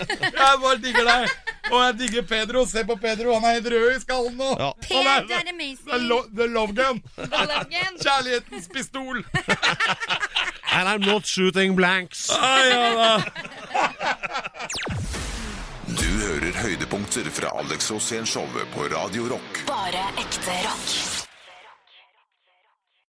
Speaker 6: jeg bare digger deg. Og jeg digger Pedro. Se på Pedro, han er helt rød i skallen nå.
Speaker 4: Ja.
Speaker 6: Han
Speaker 5: Pent, det er
Speaker 6: det er
Speaker 5: amazing.
Speaker 6: lo, the love gun.
Speaker 5: Logan.
Speaker 6: Kjærlighetens pistol.
Speaker 4: And I'm not shooting blanks!
Speaker 6: Ah, ja, da.
Speaker 2: Du hører høydepunkter fra Alex Rosén Showet på Radio Rock.
Speaker 8: Bare ekte rock.